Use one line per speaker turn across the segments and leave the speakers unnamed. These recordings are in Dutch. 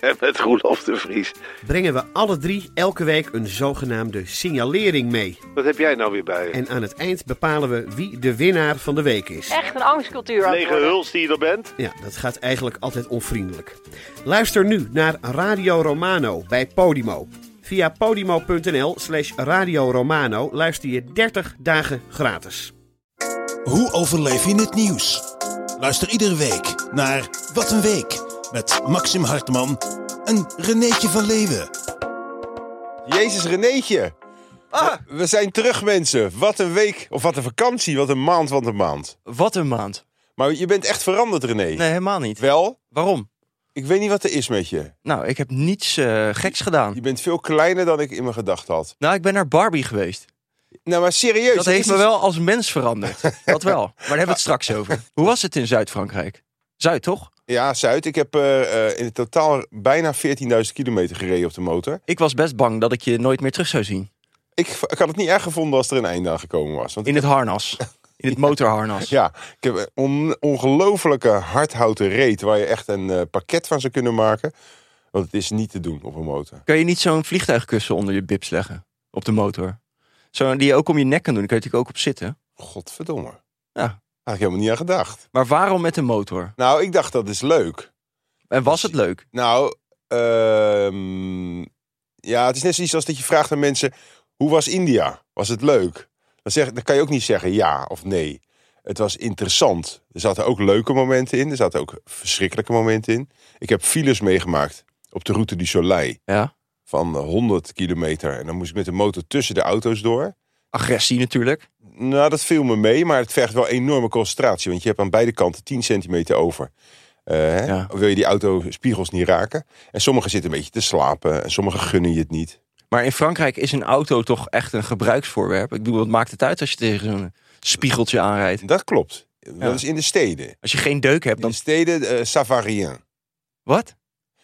En met Roelof de Vries.
brengen we alle drie elke week een zogenaamde signalering mee.
Wat heb jij nou weer bij je?
En aan het eind bepalen we wie de winnaar van de week is.
Echt een angstcultuur. aan het
Lege
worden.
huls die je er bent?
Ja, dat gaat eigenlijk altijd onvriendelijk. Luister nu naar Radio Romano bij Podimo. Via podimo.nl slash Radio Romano luister je 30 dagen gratis.
Hoe overleef je het nieuws? Luister iedere week naar Wat een Week met Maxim Hartman en Renéetje van Leeuwen.
Jezus Renéetje.
Ah.
We, we zijn terug, mensen. Wat een week, of wat een vakantie, wat een maand, wat een maand.
Wat een maand.
Maar je bent echt veranderd, René.
Nee, helemaal niet.
Wel,
Waarom?
ik weet niet wat er is met je.
Nou, ik heb niets eh, geks gedaan.
Je bent veel kleiner dan ik in mijn gedachten had.
Nou, ik ben naar Barbie geweest.
Nou, maar serieus.
Dat
er
heeft
is
me
iets-
wel als mens veranderd. Dat wel. Maar daar hebben we het straks over. Hoe was het in Zuid-Frankrijk? Zuid, toch?
Ja, Zuid, ik heb eh, eh, in totaal bijna 14.000 kilometer gereden op de motor.
Ik was best bang dat ik je nooit meer terug zou zien.
Ik, ik had het niet erg gevonden als er een einde aan gekomen was. Want
In het harnas. In het motorharnas.
Ja, ik heb een on, ongelofelijke hardhouten reet waar je echt een eh, pakket van zou kunnen maken. Want het is niet te doen op een motor.
Kun je niet zo'n vliegtuigkussen onder je bips leggen? Op de motor. Zo, die je ook om je nek kan doen. Daar kun je natuurlijk ook op zitten.
Godverdomme.
Ja.
Had ik helemaal niet aan gedacht.
Maar waarom met de motor?
Nou, ik dacht dat is leuk.
En was het leuk?
Nou, ehm, ja, het is net zoiets als dat je vraagt aan mensen: hoe was India? Was het leuk? Dan, zeg, dan kan je ook niet zeggen ja of nee. Het was interessant. Er zaten ook leuke momenten in. Er zaten ook verschrikkelijke momenten in. Ik heb files meegemaakt op de route du Soleil.
Ja.
van eh, 100 kilometer. En dan moest ik met de motor tussen de auto's door.
Agressie natuurlijk.
Nou, dat viel me mee, maar het vergt wel enorme concentratie. Want je hebt aan beide kanten 10 centimeter over. Eh, hè?
Ja.
Wil je die auto spiegels niet raken? En sommigen zitten een beetje te slapen. En sommigen gunnen je het niet.
Maar in Frankrijk is een auto toch echt een gebruiksvoorwerp. Ik bedoel, wat maakt het uit als je tegen zo'n spiegeltje aanrijdt?
Dat klopt.
Ja.
Dat is in de steden.
Als je geen deuk hebt,
In
dan...
de steden, eh ça va rien.
Wat?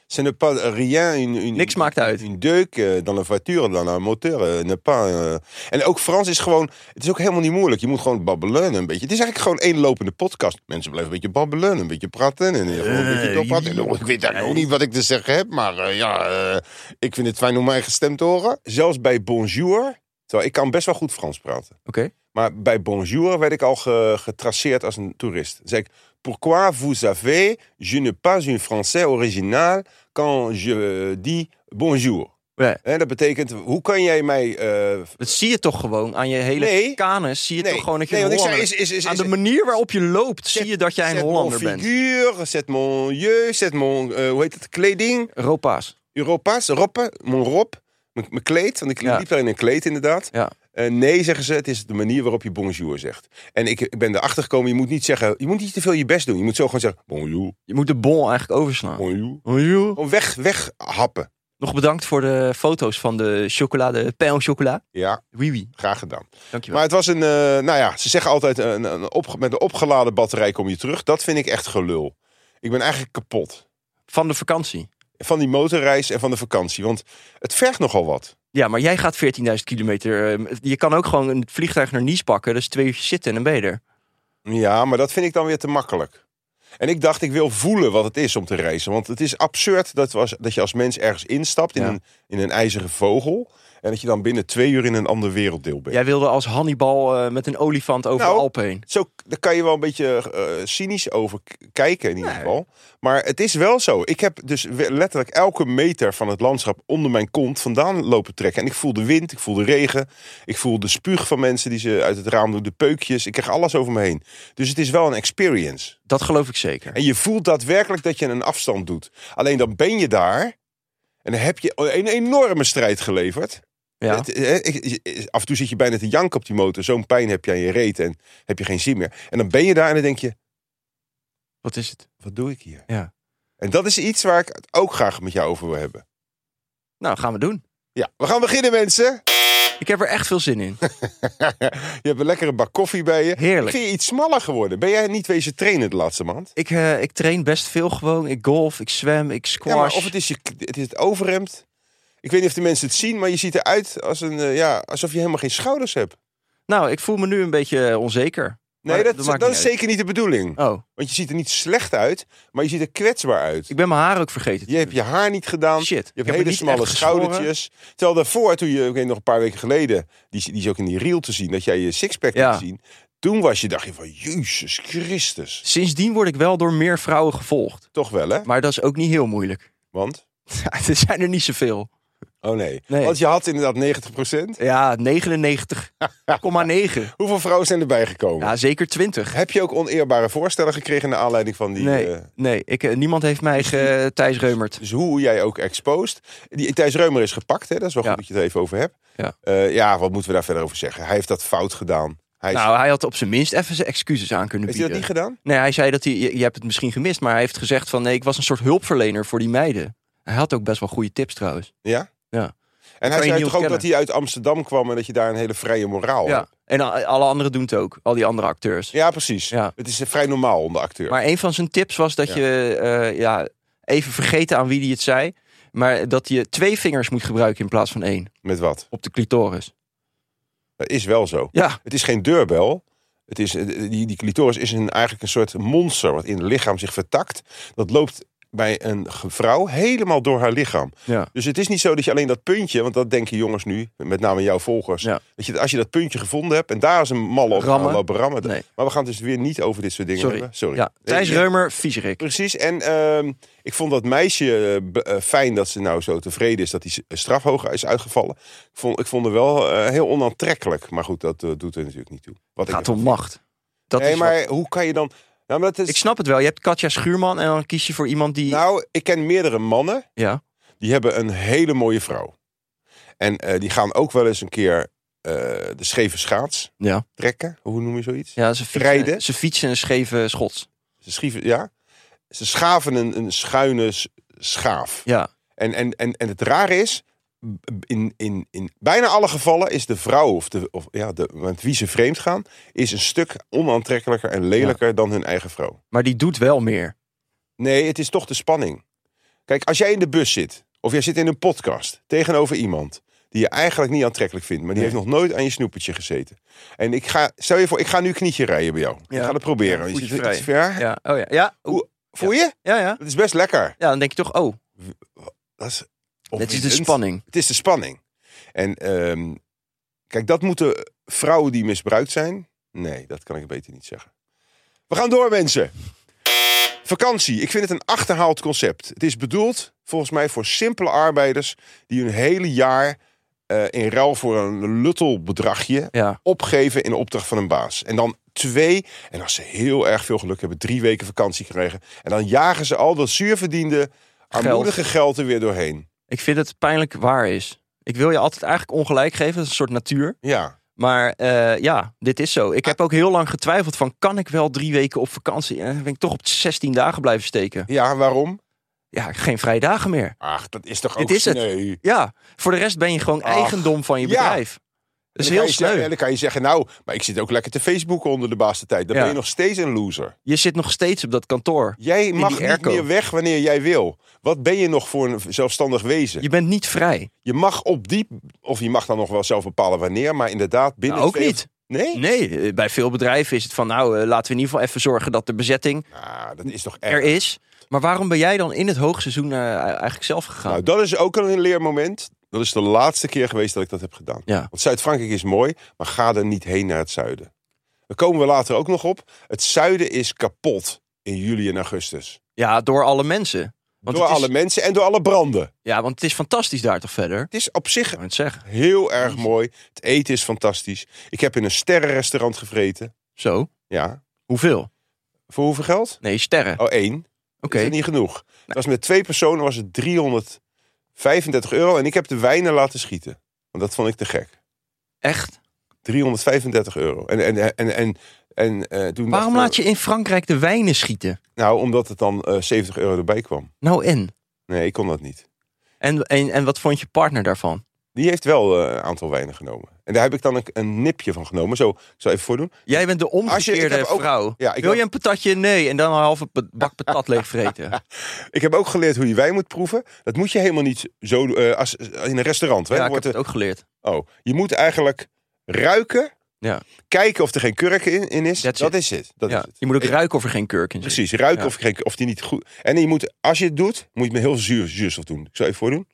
Ce n'est pas euh, rien, une, une-
Niks maakt uit.
Une deuk eh, dans la voiture, dans la moteur. eh, n'est pas, eh. En ook Frans is gewoon, het is ook helemaal niet moeilijk. Je moet gewoon babbelen een beetje. Het is eigenlijk gewoon één lopende podcast. Mensen blijven een beetje babbelen, een beetje praten. En eh, gewoon een beetje doorpraten. En, oh, Ik weet eigenlijk ook niet wat ik te zeggen heb, maar eh, ja, eh, ik vind het fijn om mijn eigen stem te horen. Zelfs bij bonjour, terwijl ik kan best wel goed Frans praten.
Oké.
Maar bij bonjour werd ik al ge- getraceerd als een toerist. Dan zei ik, pourquoi vous savez, je ne pas un français original quand je dis bonjour.
Ja.
Hè, dat betekent, hoe kan jij mij... eh,
Dat zie je toch gewoon aan je hele
Nee.
kanus. Zie je
Nee.
toch gewoon dat je
Nee,
een
want ik zei,
Hollander
is- is- is-
Aan
is-
de manier waarop je loopt,
zet-
zie je dat jij een
zet
Hollander
mon
bent.
figuur, zet mon jeu, zet mon, eh, hoe heet het, kleding,
Europa's.
Europa's, roppen, mon rob, mijn mijn kleed. Want ik
Ja.
liep daar in een kleed inderdaad.
Ja.
Eh, nee, zeggen ze, het is de manier waarop je bonjour zegt. En ik, ik ben erachter gekomen, je moet niet zeggen, je moet niet te veel je best doen. Je moet zo gewoon zeggen, bonjour,
Je moet de bon eigenlijk overslaan.
bonjour.
Bonjour.
Gewoon weg, weg happen.
Nog bedankt voor de foto's van de chocolade, pain au chocola.
Ja,
Oui, oui.
graag gedaan.
Dankjewel.
Maar het was een, eh, nou ja, ze zeggen altijd, een, een opge- met een opgeladen batterij kom je terug. Dat vind ik echt gelul. Ik ben eigenlijk kapot
Van de vakantie.
van die motorreis en van de vakantie. Want het vergt nogal wat.
Ja, maar jij gaat 14.000 kilometer. eh, Je kan ook gewoon een vliegtuig naar Nice pakken. Dus twee uur zitten en dan ben je er.
Ja, maar dat vind ik dan weer te makkelijk. En ik dacht, ik wil voelen wat het is om te reizen. Want het is absurd dat, was, dat je als mens ergens instapt in,
Ja.
een, in een ijzeren vogel. En dat je dan binnen twee uur in een ander werelddeel bent.
Jij wilde als Hannibal eh, met een olifant over
Nou,
de Alpen heen.
Zo, daar kan je wel een beetje eh, cynisch over k- kijken in ieder geval. Maar het is wel zo. Ik heb dus we- letterlijk elke meter van het landschap onder mijn kont vandaan lopen trekken. En ik voel de wind, ik voel de regen, ik voel de spuug van mensen die ze uit het raam doen, de peukjes. Ik krijg alles over me heen. Dus het is wel een experience.
Dat geloof ik zeker.
En je voelt daadwerkelijk dat je een afstand doet. Alleen dan ben je daar en dan heb je een enorme strijd geleverd.
Ja.
Het- hè, ik- ik- af en toe zit je bijna te janken op die motor. Zo'n pijn heb je aan je reet en heb je geen zin meer. En dan ben je daar en dan denk je,
Wat is het?
wat doe ik hier?
Ja.
En dat is iets waar ik het ook graag met jou over wil hebben.
Nou, gaan we doen.
Ja, we gaan beginnen mensen.
Ik heb er echt veel zin in.
Je hebt een lekkere bak koffie bij je.
Heerlijk.
Ik vind je iets smaller geworden. Ben jij niet wezen trainen de laatste maand?
Ik, eh, ik train best veel gewoon. Ik golf, ik zwem, ik
Ja, maar
squash.
of het is, je, het is het overhemd. Ik weet niet of de mensen het zien, maar je ziet eruit als een, eh, ja, alsof je helemaal geen schouders hebt.
Nou, ik voel me nu een beetje eh, onzeker.
Nee,
Maar
dat,
dat
dat,
maakt
is
niet uit.
zeker niet de bedoeling.
Oh,
Want je ziet er niet slecht uit, maar je ziet er kwetsbaar uit.
ik ben mijn haar ook vergeten.
Je hebt je haar niet gedaan.
Shit, ik
Je
heb
hebt
me
hele
niet
smalle
echt geschoren.
schoudertjes. Terwijl daarvoor, toen je, ik weet nog een paar weken geleden, die, is- die is ook in die reel te zien, dat jij je sixpack
Ja.
liet zien. Toen was je, dacht je van, Jezus Christus.
Sindsdien word ik wel door meer vrouwen gevolgd.
Toch wel, hè?
Maar dat is ook niet heel moeilijk.
Want?
Ja, er zijn er niet zoveel.
Oh nee.
Nee.
Want je had inderdaad 90%.
Ja, 99,9.
Hoeveel vrouwen zijn erbij gekomen?
Ja, zeker 20.
Heb je ook oneerbare voorstellen gekregen naar aanleiding van die...
Nee,
eh,
nee ik, eh, niemand heeft mij ge, Thijs Reumert.
dus hoe jij ook exposed. Die, Thijs Reumer is gepakt, hè? dat is wel
Ja.
goed dat je het even over hebt.
Ja.
Eh, ja, wat moeten we daar verder over zeggen? Hij heeft dat fout gedaan. Hij is-
Nou, hij had op zijn minst even zijn excuses aan kunnen
heeft hij dat
bieden.
niet gedaan?
Nee, hij zei dat hij, je, je hebt het misschien gemist, maar hij heeft gezegd van nee, ik was een soort hulpverlener voor die meiden. Hij had ook best wel goede tips trouwens.
Ja?
Ja.
En
kan
hij
je
zei
niet
toch ook dat hij
ontkennen.
uit Amsterdam kwam en dat je daar een hele vrije moraal
Ja.
hebt?
En a- alle anderen doen het ook, al die andere acteurs.
Ja, precies.
Ja.
Het is eh, vrij normaal onder acteur.
Maar een van zijn tips was dat
Ja.
je eh, ja, even vergeten aan wie die het zei, maar dat je twee vingers moet gebruiken in plaats van één
Met wat?
op de clitoris.
Dat is wel zo.
Ja,
Het is geen deurbel. Het is, eh, die, die clitoris is een, eigenlijk een soort monster wat in het lichaam zich vertakt. Dat loopt bij een ge- vrouw helemaal door haar lichaam.
ja.
Dus het is niet zo dat je alleen dat puntje, want dat denken jongens nu, met name jouw volgers.
Ja.
Dat je, als je dat puntje gevonden hebt en daar is een malle op gaan
Rammen.
lopen rammen.
Nee.
Maar we gaan het dus weer niet over dit soort dingen
Sorry.
hebben. Sorry.
ja.
Nee,
Thijs
je-
Reumer, viezerik.
Precies. En ehm, ik vond dat meisje eh, be- eh, fijn dat ze nou zo tevreden is dat die s- eh, straf hoger is uitgevallen. Ik vond, ik vond haar wel eh, heel onaantrekkelijk. Maar goed, dat eh, doet er natuurlijk niet toe. Wat
Het
ik dus-
gaat om macht. Dat
nee,
is wat-
maar hoe kan je dan... Nou, maar dat is...
Ik snap het wel. Je hebt Katja Schuurman en dan kies je voor iemand die...
nou, ik ken meerdere mannen
ja.
die hebben een hele mooie vrouw. En eh, die gaan ook wel eens een keer eh, de scheve schaats
Ja.
trekken. Hoe noem je zoiets?
ja, ze fietsen,
Rijden.
Ze fietsen een scheve schots.
Ze, schieven, ja? ze schaven een, een schuine s- schaaf.
Ja.
En, en, en, en het rare is, in, in, in bijna alle gevallen is de vrouw of de, of, ja, de, met wie ze vreemd gaan, is een stuk onaantrekkelijker en lelijker dan hun eigen vrouw.
Maar die doet wel meer.
Nee, het is toch de spanning. Kijk, als jij in de bus zit, of jij zit in een podcast tegenover iemand die je eigenlijk niet aantrekkelijk vindt, maar die heeft nog nooit aan je snoepertje gezeten. En ik ga, stel je voor, ik ga nu knietje rijden bij jou.
Ja.
Ik ga het proberen.
Ja,
je
voetje
zit
vrij.
iets ver.
Ja. Oh ja. Ja. Oeh.
Hoe- Voel je?
Ja, ja.
Dat is best lekker.
Ja, dan denk je toch, oh,
Dat is
dit is de
opwindend.
spanning.
Het is de spanning. En ehm, kijk, dat moeten vrouwen die misbruikt zijn. Nee, dat kan ik beter niet zeggen. We gaan door, mensen. Vakantie. Ik vind het een achterhaald concept. Het is bedoeld, volgens mij, voor simpele arbeiders die hun hele jaar eh, in ruil voor een luttel bedragje
Ja.
opgeven in de opdracht van een baas. En dan twee, en als ze heel erg veel geluk hebben, drie weken vakantie krijgen. En dan jagen ze al dat zuurverdiende, armoedige geld er weer doorheen.
Ik vind dat het pijnlijk waar is. Ik wil je altijd eigenlijk ongelijk geven. Dat is een soort natuur.
Ja.
Maar eh, ja, dit is zo. Ik heb ook heel lang getwijfeld van, kan ik wel drie weken op vakantie? En dan ben ik toch op 16 dagen blijven steken.
Ja, waarom?
Ja, geen vrije dagen meer.
Ach, dat is toch
Dit
ook...
is het.
Nee.
Ja, voor de rest ben je gewoon
Ach,
eigendom van je
ja.
bedrijf. Dat is
En dan kan
heel
je zeggen-
sneu.
En dan kan je zeggen, nou, maar ik zit ook lekker te Facebooken onder de baas de tijd. Dan
Ja.
ben je nog steeds een loser.
Je zit nog steeds op dat kantoor.
Jij
die
mag niet
airco.
meer weg wanneer jij wil. Wat ben je nog voor een zelfstandig wezen?
Je bent niet vrij.
Je mag op die... Of je mag dan nog wel zelf bepalen wanneer, maar inderdaad binnen...
Nou, ook
twee-
niet.
Nee?
Nee, eh, bij veel bedrijven is het van nou, eh, laten we in ieder geval even zorgen dat de bezetting
Ah, dat is toch
er
erg.
is. Maar waarom ben jij dan in het hoogseizoen eh, eigenlijk zelf gegaan?
Nou, dat is ook een leermoment. Dat is de laatste keer geweest dat ik dat heb gedaan.
Ja.
Want Zuid-Frankrijk is mooi, maar ga er niet heen naar het zuiden. Daar komen we later ook nog op. Het zuiden is kapot in juli en augustus.
ja, door alle mensen. Want
door
het is,
alle mensen en door alle branden.
Ja, want het is fantastisch daar toch verder?
Het is op zich
Ik het zeggen.
heel erg mooi. Het eten is fantastisch. Ik heb in een sterrenrestaurant gevreten.
Zo,
Ja.
hoeveel?
Voor hoeveel geld?
Nee, sterren.
Oh, één.
Oké.
Is dat niet genoeg? Dat was met twee personen was het 335 euro. En ik heb de wijnen laten schieten. Want dat vond ik te gek.
Echt?
335 euro. En, en, en, en, en eh, toen dacht
Waarom
ik,
laat je in Frankrijk de wijnen schieten?
Nou, omdat het dan eh, 70 euro erbij kwam.
Nou en?
Nee, ik kon dat niet.
En, en? en wat vond je partner daarvan?
Die heeft wel eh, een aantal wijnen genomen. En daar heb ik dan een, een nipje van genomen. Zo, ik zal even voordoen.
Jij bent de
ik
omgekeerde
heb ook-
vrouw.
Ja, ik
Wil
wil-
je een patatje? Nee. En dan een halve pa- bak patat leegvreten.
Ik heb ook geleerd hoe je wijn moet proeven. Dat moet je helemaal niet zo eh, als, in een restaurant. Hè?
ja, ik heb
Wordt
het ook geleerd.
er- oh, je moet eigenlijk ruiken.
Ja.
Kijken of er geen kurk in, in is.
That's
dat
it.
is het. Dat
Ja.
is het.
Je moet ook
En-
ruiken of er geen kurk in zit.
Precies, ruiken
Ja.
of, geen, of die niet goed... En je moet, als je het doet, moet je het met heel veel zuur, zuurstof doen. Ik zal even voordoen.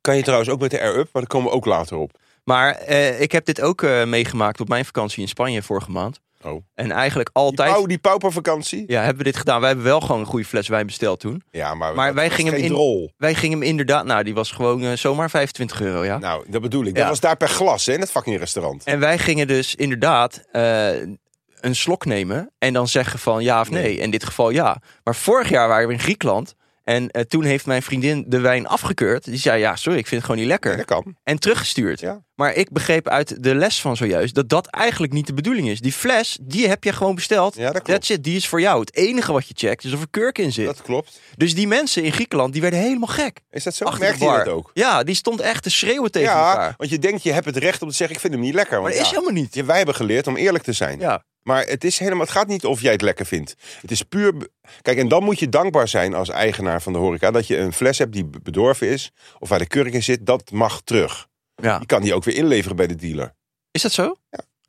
Kan je trouwens ook met de air-up, maar daar komen we ook later op.
Maar eh, ik heb dit ook eh, meegemaakt op mijn vakantie in Spanje vorige maand.
Oh.
En eigenlijk
Die,
altijd
pau, die paupervakantie?
ja, hebben we dit gedaan. Wij hebben wel gewoon een goede fles wijn besteld toen.
Ja, maar,
Maar
Oh, dat
wij
was
gingen
geen
in-
drol.
Wij gingen hem inderdaad... Nou, die was gewoon eh, zomaar 25 euro, ja.
Nou, dat bedoel ik.
Ja.
Dat was daar per glas, hè, in dat fucking restaurant.
En wij gingen dus inderdaad eh, een slok nemen en dan zeggen van ja of nee.
Nee.
In dit geval ja. Maar vorig jaar waren we in Griekenland en eh, toen heeft mijn vriendin de wijn afgekeurd. Die zei ja, sorry, ik vind het gewoon niet
Ja,
lekker.
dat kan.
En teruggestuurd.
Ja.
Maar ik begreep uit de les van zojuist dat dat eigenlijk niet de bedoeling is. Die fles, die heb je gewoon besteld.
Ja, dat klopt.
That's it, die is voor jou. Het enige wat je checkt is of er kurk in zit.
Dat klopt.
Dus die mensen in Griekenland, die werden helemaal gek.
Is dat zo?
Achter de
Merkte je
bar.
dat ook?
Ja, die stond echt te schreeuwen tegen
Ja,
elkaar.
want je denkt, je hebt het recht om te zeggen, ik vind hem niet lekker.
Maar
Want
dat is
ja,
helemaal niet.
je- wij hebben geleerd om eerlijk te zijn.
Ja.
Maar het, is helemaal, het gaat niet of jij het lekker vindt. Het is puur. be- Kijk, en dan moet je dankbaar zijn als eigenaar van de horeca. dat je een fles hebt die be- bedorven is. of waar de kurk in zit. Dat mag terug.
ja.
Je kan die ook weer inleveren bij de dealer.
Is dat zo?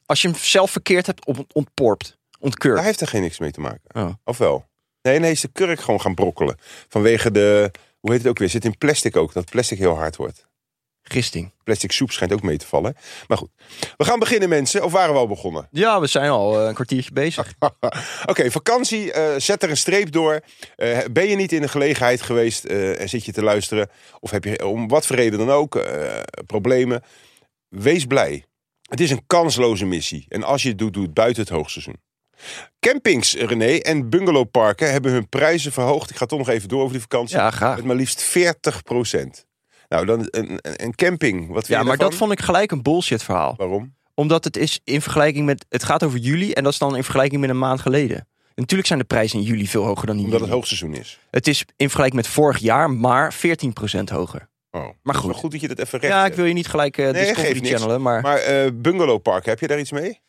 Als je hem zelf verkeerd hebt ont- ontporpt,
Daar
ontkurkt.
heeft er geen niks mee te maken.
Oh.
Of wel? Nee, nee, is de kurk gewoon gaan brokkelen. Vanwege de. hoe heet het ook weer? Zit in plastic ook. Dat plastic heel hard wordt.
Gisting.
Plastic soep schijnt ook mee te vallen. Maar goed. We gaan beginnen, mensen. Of waren we al begonnen?
Ja, we zijn al eh, een kwartiertje bezig.
Ah, Oké, vakantie, eh, zet er een streep door. Eh, ben je niet in de gelegenheid geweest eh, en zit je te luisteren? Of heb je om wat voor reden dan ook eh, problemen? Wees blij. Het is een kansloze missie. En als je het doet, doe het buiten het hoogseizoen. Campings, René, en bungalowparken hebben hun prijzen verhoogd. Ik ga toch nog even door over die vakantie.
Ja, graag.
Met maar liefst 40 Nou, dan een, een, een camping. Wat vind
Ja,
je
maar dat
daarvan?
vond ik gelijk een bullshit verhaal.
Waarom?
Omdat het is in vergelijking met. Het gaat over juli en dat is dan in vergelijking met een maand geleden. Natuurlijk zijn de prijzen in juli veel hoger dan in
Omdat het
juni.
hoogseizoen is.
Het is in vergelijking met vorig jaar, maar 14% hoger.
Oh.
Maar
Het is wel
goed.
goed dat je dat even recht
Ja, ik
hebt.
wil je niet gelijk eh
geeft
Discovery
niks.
channelen, maar,
Maar eh bungalowpark, heb je daar iets mee?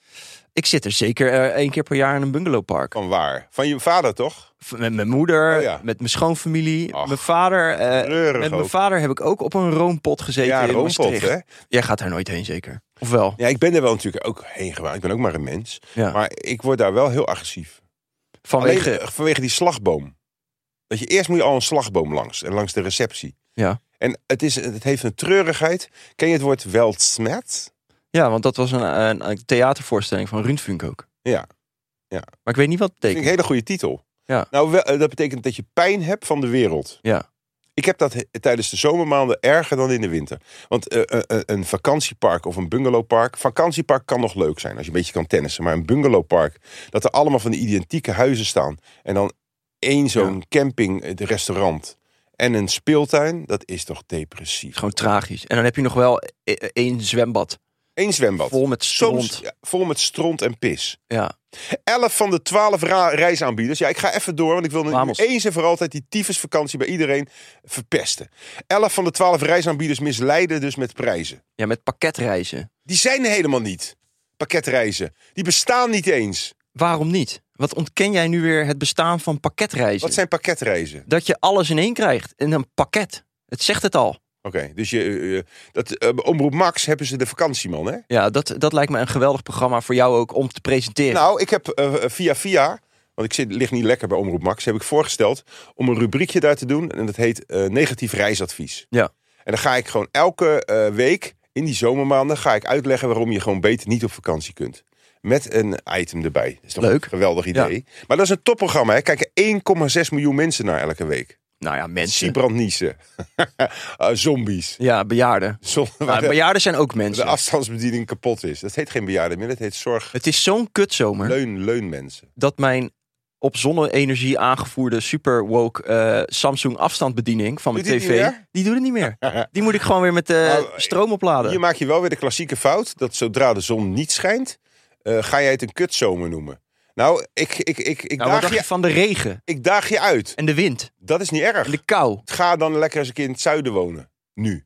ik zit er zeker eh, één keer per jaar in een bungalowpark.
Van waar? Van je vader toch?
V- Met mijn moeder,
Oh ja.
met mijn schoonfamilie,
Ach,
mijn vader. eh,
Treurig
met mijn
ook.
vader heb ik ook op een roompot gezeten
ja,
in
roompot,
Maastricht.
hè?
Jij gaat daar nooit heen, zeker? Of wel?
Ja, ik ben er wel natuurlijk ook heen gegaan. Ik ben ook maar een mens.
Ja.
Maar ik word daar wel heel agressief.
Vanwege...
Alleen, eh, vanwege die slagboom. Dat je eerst moet je al een slagboom langs. En langs de receptie.
Ja.
En het, is, het heeft een treurigheid. Ken je het woord weltsmet?
ja, want dat was een, een, een theatervoorstelling van Rundfunk ook.
Ja. Ja.
Maar ik weet niet wat het
Dat vind ik
betekent.
een hele goede titel.
Ja.
Nou, wel, eh, dat betekent dat je pijn hebt van de wereld.
Ja.
Ik heb dat he- tijdens de zomermaanden erger dan in de winter. Want eh, eh, eh, een vakantiepark of een bungalowpark... Vakantiepark kan nog leuk zijn als je een beetje kan tennissen. Maar een bungalowpark, dat er allemaal van die identieke huizen staan. En dan één zo'n camping, het restaurant en een speeltuin. Dat is toch depressief.
Gewoon tragisch. En dan heb je nog wel e- e- één zwembad
Eén zwembad.
vol met stront.
Soms ja, vol met stront en pis.
Ja.
11 van de 12 ra- reisaanbieders. Ja, ik ga even door, want ik wil nu
Vamos.
eens en voor altijd die tyfusvakantie bij iedereen verpesten. 11 van de 12 reisaanbieders misleiden dus met prijzen.
ja, met pakketreizen.
Die zijn er helemaal niet. Pakketreizen. Die bestaan niet eens.
Waarom niet? Wat ontken jij nu weer het bestaan van pakketreizen?
Wat zijn pakketreizen?
Dat je alles in één krijgt. In een pakket. Het zegt het al.
Oké, dus je, eh, eh, dat, eh, bij Omroep Max hebben ze de vakantieman, hè?
Ja, dat, dat lijkt me een geweldig programma voor jou ook om te presenteren.
Nou, ik heb eh, via via, want ik zit, lig niet lekker bij Omroep Max, heb ik voorgesteld om een rubriekje daar te doen. En dat heet eh, negatief reisadvies.
Ja.
En dan ga ik gewoon elke eh, week in die zomermaanden ga ik uitleggen waarom je gewoon beter niet op vakantie kunt. Met een item erbij. Dat is toch
Leuk.
een geweldig idee. Maar dat is een topprogramma. Hè? Kijken 1,6 miljoen mensen naar elke week.
nou ja, mensen.
Siebrandniezen. Eh, zombies.
Ja, bejaarden.
Zonder
Maar
waar de,
bejaarden zijn ook
de
mensen.
afstandsbediening kapot is. Dat heet geen bejaarden meer. Dat heet zorg.
Het is zo'n kutzomer
Leun, leunmensen.
dat mijn op zonne-energie aangevoerde super woke eh, Samsung afstandbediening van mijn
Doet die het
tv,
niet meer?
die doet het niet meer. Die moet ik gewoon weer met eh,
Maar,
stroom opladen. Nou,
Hier maak je wel weer de klassieke fout dat zodra de zon niet schijnt, eh, ga jij het een kutzomer noemen. Nou, ik, ik, ik, ik,
Nou, wat
daag
dacht
je,
je van de regen
ik daag je uit.
en de wind
Dat is niet erg.
en de kou?
Ga dan lekker eens een keer in het zuiden wonen. Nu.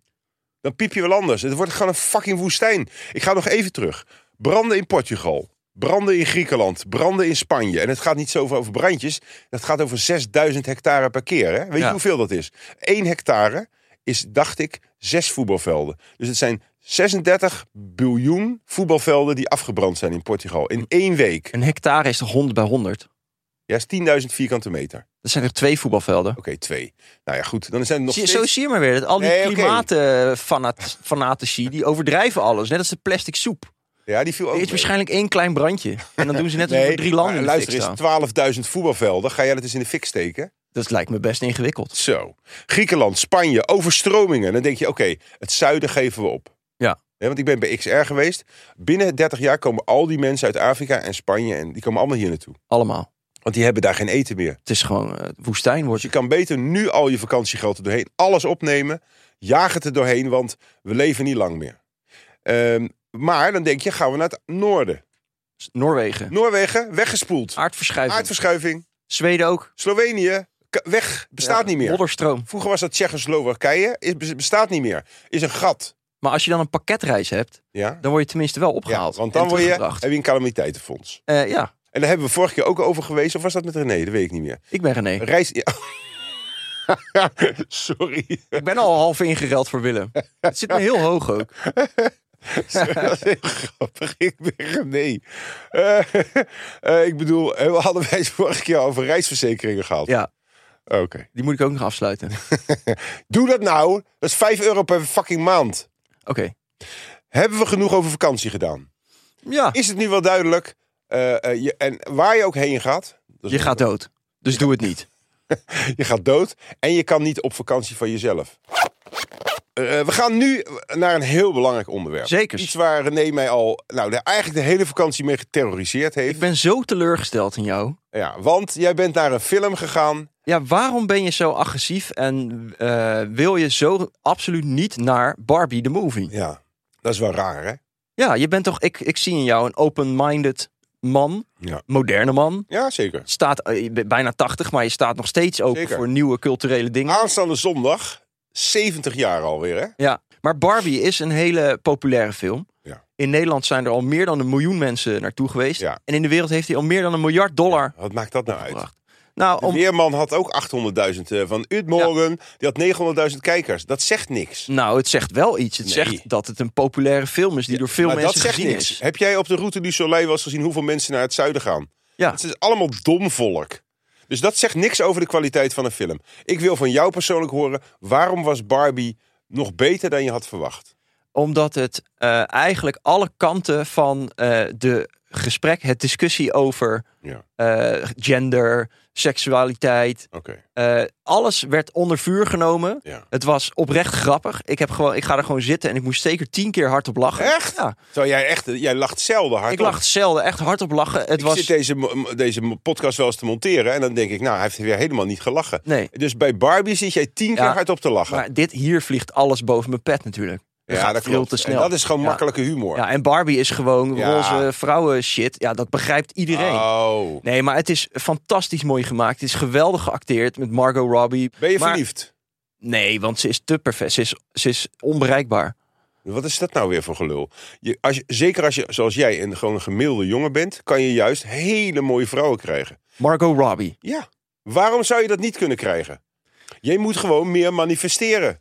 Dan piep je wel anders. Het wordt gewoon een fucking woestijn. Ik ga nog even terug. Branden in Portugal. Branden in Griekenland. Branden in Spanje. En het gaat niet zoveel over brandjes. Dat gaat over 6000 hectare per keer. Hè? Weet
Ja.
je hoeveel dat is? 1 hectare is, dacht ik, zes voetbalvelden. Dus het zijn 36 biljoen voetbalvelden die afgebrand zijn in Portugal. In één week.
Een hectare is toch 100 bij 100?
Ja, is 10.000 vierkante meter. Oké,
Dat zijn er twee voetbalvelden.
twee. Nou ja, goed. Dan zijn er nog
Zie-
steeds...
Zo zie je maar weer. Dat al die
Nee, oké.
klimaatfanatici, die overdrijven alles. Net als de plastic soep.
Ja, die viel ook
Er is
mee.
waarschijnlijk één klein brandje. En dan doen ze net alsof er drie landen
maar
in de fik
luister
staan.
eens, 12.000 voetbalvelden. Ga jij dat eens in de fik steken?
Dat lijkt me best ingewikkeld.
Zo. Griekenland, Spanje, overstromingen. Dan denk je, oké, het zuiden geven we op.
Ja.
Hè, want ik ben bij XR geweest. Binnen 30 jaar komen al die mensen uit Afrika en Spanje... en die komen allemaal hier naartoe.
Allemaal.
Want die hebben daar geen eten meer.
Het is gewoon eh, woestijn wordt.
Dus je kan beter nu al je vakantiegeld er doorheen, alles opnemen, jaag het er doorheen, want we leven niet lang meer. Ehm, maar dan denk je, gaan we naar het noorden.
Noorwegen.
Noorwegen,
Ah,
weggespoeld.
Aardverschuiving.
Aardverschuiving.
Zweden ook.
Slovenië, k- weg, bestaat
Ja,
niet meer.
Modderstroom.
Vroeger was dat Tsjechoslowakije, is, bes- bestaat niet meer. Is een gat.
Maar als je dan een pakketreis hebt,
Ja?
dan word je tenminste wel
ja
opgehaald.
want dan word je, heb
teruggebracht.
je een calamiteitenfonds.
Eh, ja,
En daar hebben we vorige keer ook over geweest, of was dat met René? Dat weet ik niet meer.
ik ben René.
Reis. ja. Sorry.
Ik ben al half ingereld voor Willem. Het zit me heel hoog ook.
dat is heel grappig. Ik ben nee. ik bedoel, eh, we hadden wij het vorige keer over reisverzekeringen gehad.
Ja,
Oké.
die moet ik ook nog afsluiten.
Doe dat nou. Dat is 5 euro per fucking maand.
Oké.
Hebben we genoeg over vakantie gedaan?
Ja,
Is het nu wel duidelijk? eh, eh, je, en waar je ook heen gaat. dat is-
je gaat dood. Dus doe het niet.
je gaat dood. En je kan niet op vakantie van jezelf. Eh, we gaan nu naar een heel belangrijk onderwerp.
Zekers.
Iets waar René mij al, nou de- eigenlijk de hele vakantie mee geterroriseerd heeft.
Ik ben zo teleurgesteld in jou.
Ja, want jij bent naar een film gegaan.
Ja, waarom ben je zo agressief en eh, wil je zo absoluut niet naar Barbie the Movie?
Ja, dat is wel raar, hè?
Ja, je bent toch, ik, ik zie in jou een open-minded man,
Ja.
moderne man.
Ja, zeker.
Staat, eh, je bent bijna 80, maar je staat nog steeds open
Zeker. Ah.
voor nieuwe culturele dingen.
Aanstaande zondag, 70 jaar alweer, hè?
Ja, maar Barbie is een hele populaire film.
Ja.
In Nederland zijn er al meer dan een miljoen mensen naartoe geweest.
Ja.
En in de wereld heeft hij al meer dan een miljard dollar
Wat maakt dat nou uit?
gebracht. Nou,
De
om,
Weerman had ook 800.000 eh, van Utmorgen. Die had 900.000 kijkers. Dat zegt niks.
nou, het zegt wel iets. Het
Nee.
zegt dat het een populaire film is die door veel
maar
mensen
dat zegt
gezien
niks.
is.
Heb jij op de route du Soleil wel eens gezien hoeveel mensen naar het zuiden gaan?
Ja.
Het is allemaal dom volk. Dus dat zegt niks over de kwaliteit van een film. Ik wil van jou persoonlijk horen, waarom was Barbie nog beter dan je had verwacht?
Omdat het eh, eigenlijk alle kanten van eh, de gesprek, het discussie over
Ja,
eh, gender, seksualiteit,
oké.
eh, alles werd onder vuur genomen.
Ja.
Het was oprecht grappig. Ik, heb gewoon, ik ga er gewoon zitten en ik moest zeker tien keer hardop lachen.
Echt?
Ja.
Terwijl jij echt, jij lacht zelden hard
Ik lag zelden echt hardop lachen. Het
Ik
was...
zit deze, mo- mo- deze mo- podcast wel eens te monteren en dan denk ik, nou, hij heeft weer helemaal niet gelachen.
Nee.
Dus bij Barbie zit jij tien keer
Ja,
hard op te lachen.
Maar dit hier vliegt alles boven mijn pet natuurlijk. Het gaat veel te snel.
En dat is gewoon
Ja.
makkelijke humor.
Ja, en Barbie is gewoon
Ja.
roze vrouwen shit. Ja, dat begrijpt iedereen.
Oh.
Nee, maar het is fantastisch mooi gemaakt. Het is geweldig geacteerd met Margot Robbie.
Ben je
Maar-
verliefd?
Nee, want ze is te perfect. Ze is, ze is onbereikbaar.
Wat is dat nou weer voor gelul? Je, als je, zeker als je, zoals jij, een, gewoon een gemiddelde jongen bent, kan je juist hele mooie vrouwen krijgen.
Margot Robbie.
Ja. Waarom zou je dat niet kunnen krijgen? Je moet gewoon meer manifesteren.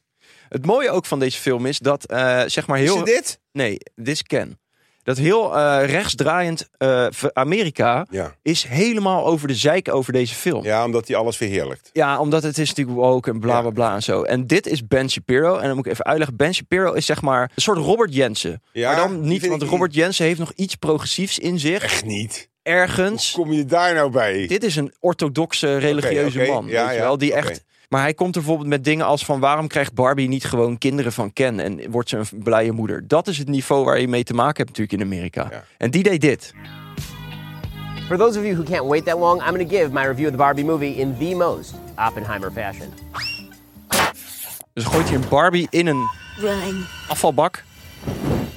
Het mooie ook van deze film is dat, eh, zeg maar,
Is
heel...
het dit?
Nee, dit is Ken. Dat heel eh, rechtsdraaiend eh, Amerika
Ja.
is helemaal over de zeik over deze film.
ja, omdat hij alles verheerlijkt.
Ja, omdat het is natuurlijk woke en bla
Ja.
bla bla en zo. En dit is Ben Shapiro. En dan moet ik even uitleggen. Ben Shapiro is zeg maar een soort Robert Jensen.
Ja,
maar dan
die
niet,
vind
want
ik-
Robert Jensen heeft nog iets progressiefs in zich.
Echt niet.
Ergens.
Kom je daar nou bij?
Dit is een orthodoxe religieuze
oké,
man.
ja,
weet je
ja,
wel, die
oké.
echt... Maar hij komt er bijvoorbeeld met dingen als van... waarom krijgt Barbie niet gewoon kinderen van Ken... en wordt ze een blije moeder? Dat is het niveau waar je mee te maken hebt natuurlijk in Amerika.
Ja.
En die deed dit.
For those of you who can't wait that long, I'm going to give my review of the Barbie movie in the most Oppenheimer fashion.
Dus gooit hij een Barbie in een afvalbak...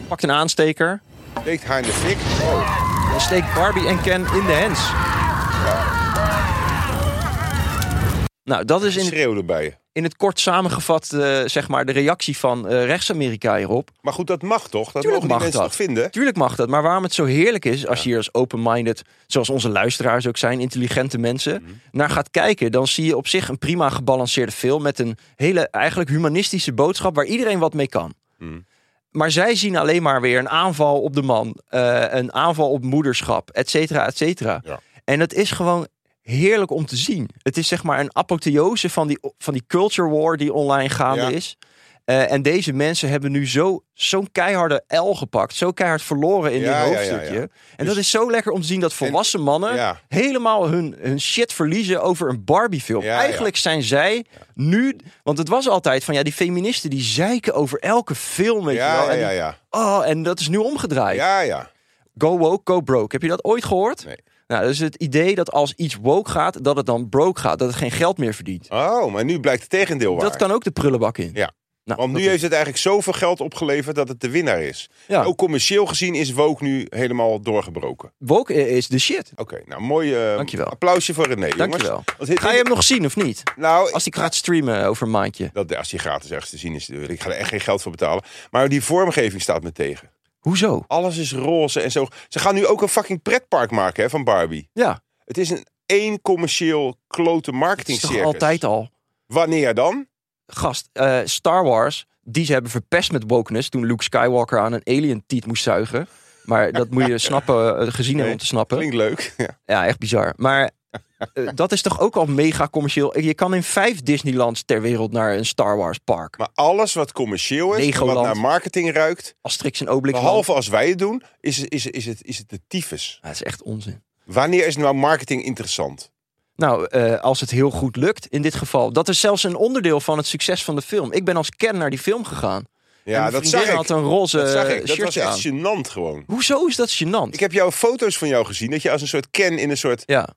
pakt een aansteker...
Steekt haar in de fik. Oh,
en steekt Barbie en Ken in de hens. Nou, dat is
Ze
in,
schreeuwden bij je.
in het kort samengevat eh, zeg maar de reactie van eh, rechts-Amerika hierop.
Maar goed, dat mag toch? Dat
Tuurlijk
mogen die
mag
mensen
dat.
toch vinden?
Tuurlijk mag dat, maar waarom het zo heerlijk is als je hier als open-minded, zoals onze luisteraars ook zijn, intelligente mensen,
Mhm.
naar gaat kijken, dan zie je op zich een prima gebalanceerde film met een hele eigenlijk humanistische boodschap waar iedereen wat mee kan. Maar zij zien alleen maar weer een aanval op de man, eh, een aanval op moederschap, et cetera, et cetera.
Ja.
En dat is gewoon heerlijk om te zien. Het is zeg maar een apotheose van die, van die culture war die online gaande
Ja.
is. Eh, en deze mensen hebben nu zo- zo'n keiharde L gepakt. Zo keihard verloren in
Ja, ja,
dit
ja,
hoofdstukje.
ja. Dus
En dat is zo lekker om te zien dat volwassen mannen...
ja.
helemaal hun, hun shit verliezen over een Barbie film.
Ja, ja.
Eigenlijk zijn zij nu... Want het was altijd van ja, die feministen die zeiken over elke film. Weet je
Ja,
wel.
ja,
En die-
ja, ja.
Oh, en dat is nu omgedraaid.
Ja, ja.
Go woke, go broke. Heb je dat ooit gehoord?
Nee.
Nou, dat is het idee dat als iets woke gaat, dat het dan broke gaat. Dat het geen geld meer verdient.
Oh, maar nu blijkt het tegendeel waar.
Dat kan ook de prullenbak in.
Ja.
Nou,
Want nu
dat is-
heeft het eigenlijk zoveel geld opgeleverd dat het de winnaar is.
Ja.
Ook commercieel gezien is Woke nu helemaal doorgebroken.
Woke is de shit.
Oké, nou mooi eh,
Dankjewel.
applausje voor René, jongens.
Dankjewel.
Want dit-
Ga je hem nog zien of niet?
Nou,
Als die gaat streamen over een maandje.
dat, als die gratis ergens te zien is, eh, ik ga er echt geen geld voor betalen. Maar die vormgeving staat me tegen.
Hoezo?
Alles is roze en zo. Ze gaan nu ook een fucking pretpark maken hè, van Barbie.
Ja,
Het is een één commercieel klote
het is
marketing
toch altijd al.
Wanneer dan?
Gast, eh, Star Wars, die ze hebben verpest met wokeness... toen Luke Skywalker aan een alien tiet moest zuigen. Maar dat moet je snappen, eh, gezien hebben om te snappen.
Klinkt leuk. Ja.
Ja, echt bizar. Maar eh, dat is toch ook al mega commercieel. Je kan in vijf Disneylands ter wereld naar een Star Wars park.
Maar alles wat commercieel is, en wat
Legoland.
naar marketing ruikt,
Asterix en Obelix.
Behalve als wij het doen, is, is, is, het, is het de tyfus.
Ja, dat is echt onzin.
Wanneer is nou marketing interessant?
Nou, eh, als het heel goed lukt in dit geval. Dat is zelfs een onderdeel van het succes van de film. Ik ben als Ken naar die film gegaan. En
Ja,
mijn
dat
vriendin
zag ik.
had een roze
dat zag ik. Dat
shirtje
was echt
aan.
gênant gewoon.
Hoezo is dat gênant?
Ik heb jouw foto's van jou gezien, dat je als een soort Ken in een soort
Ja.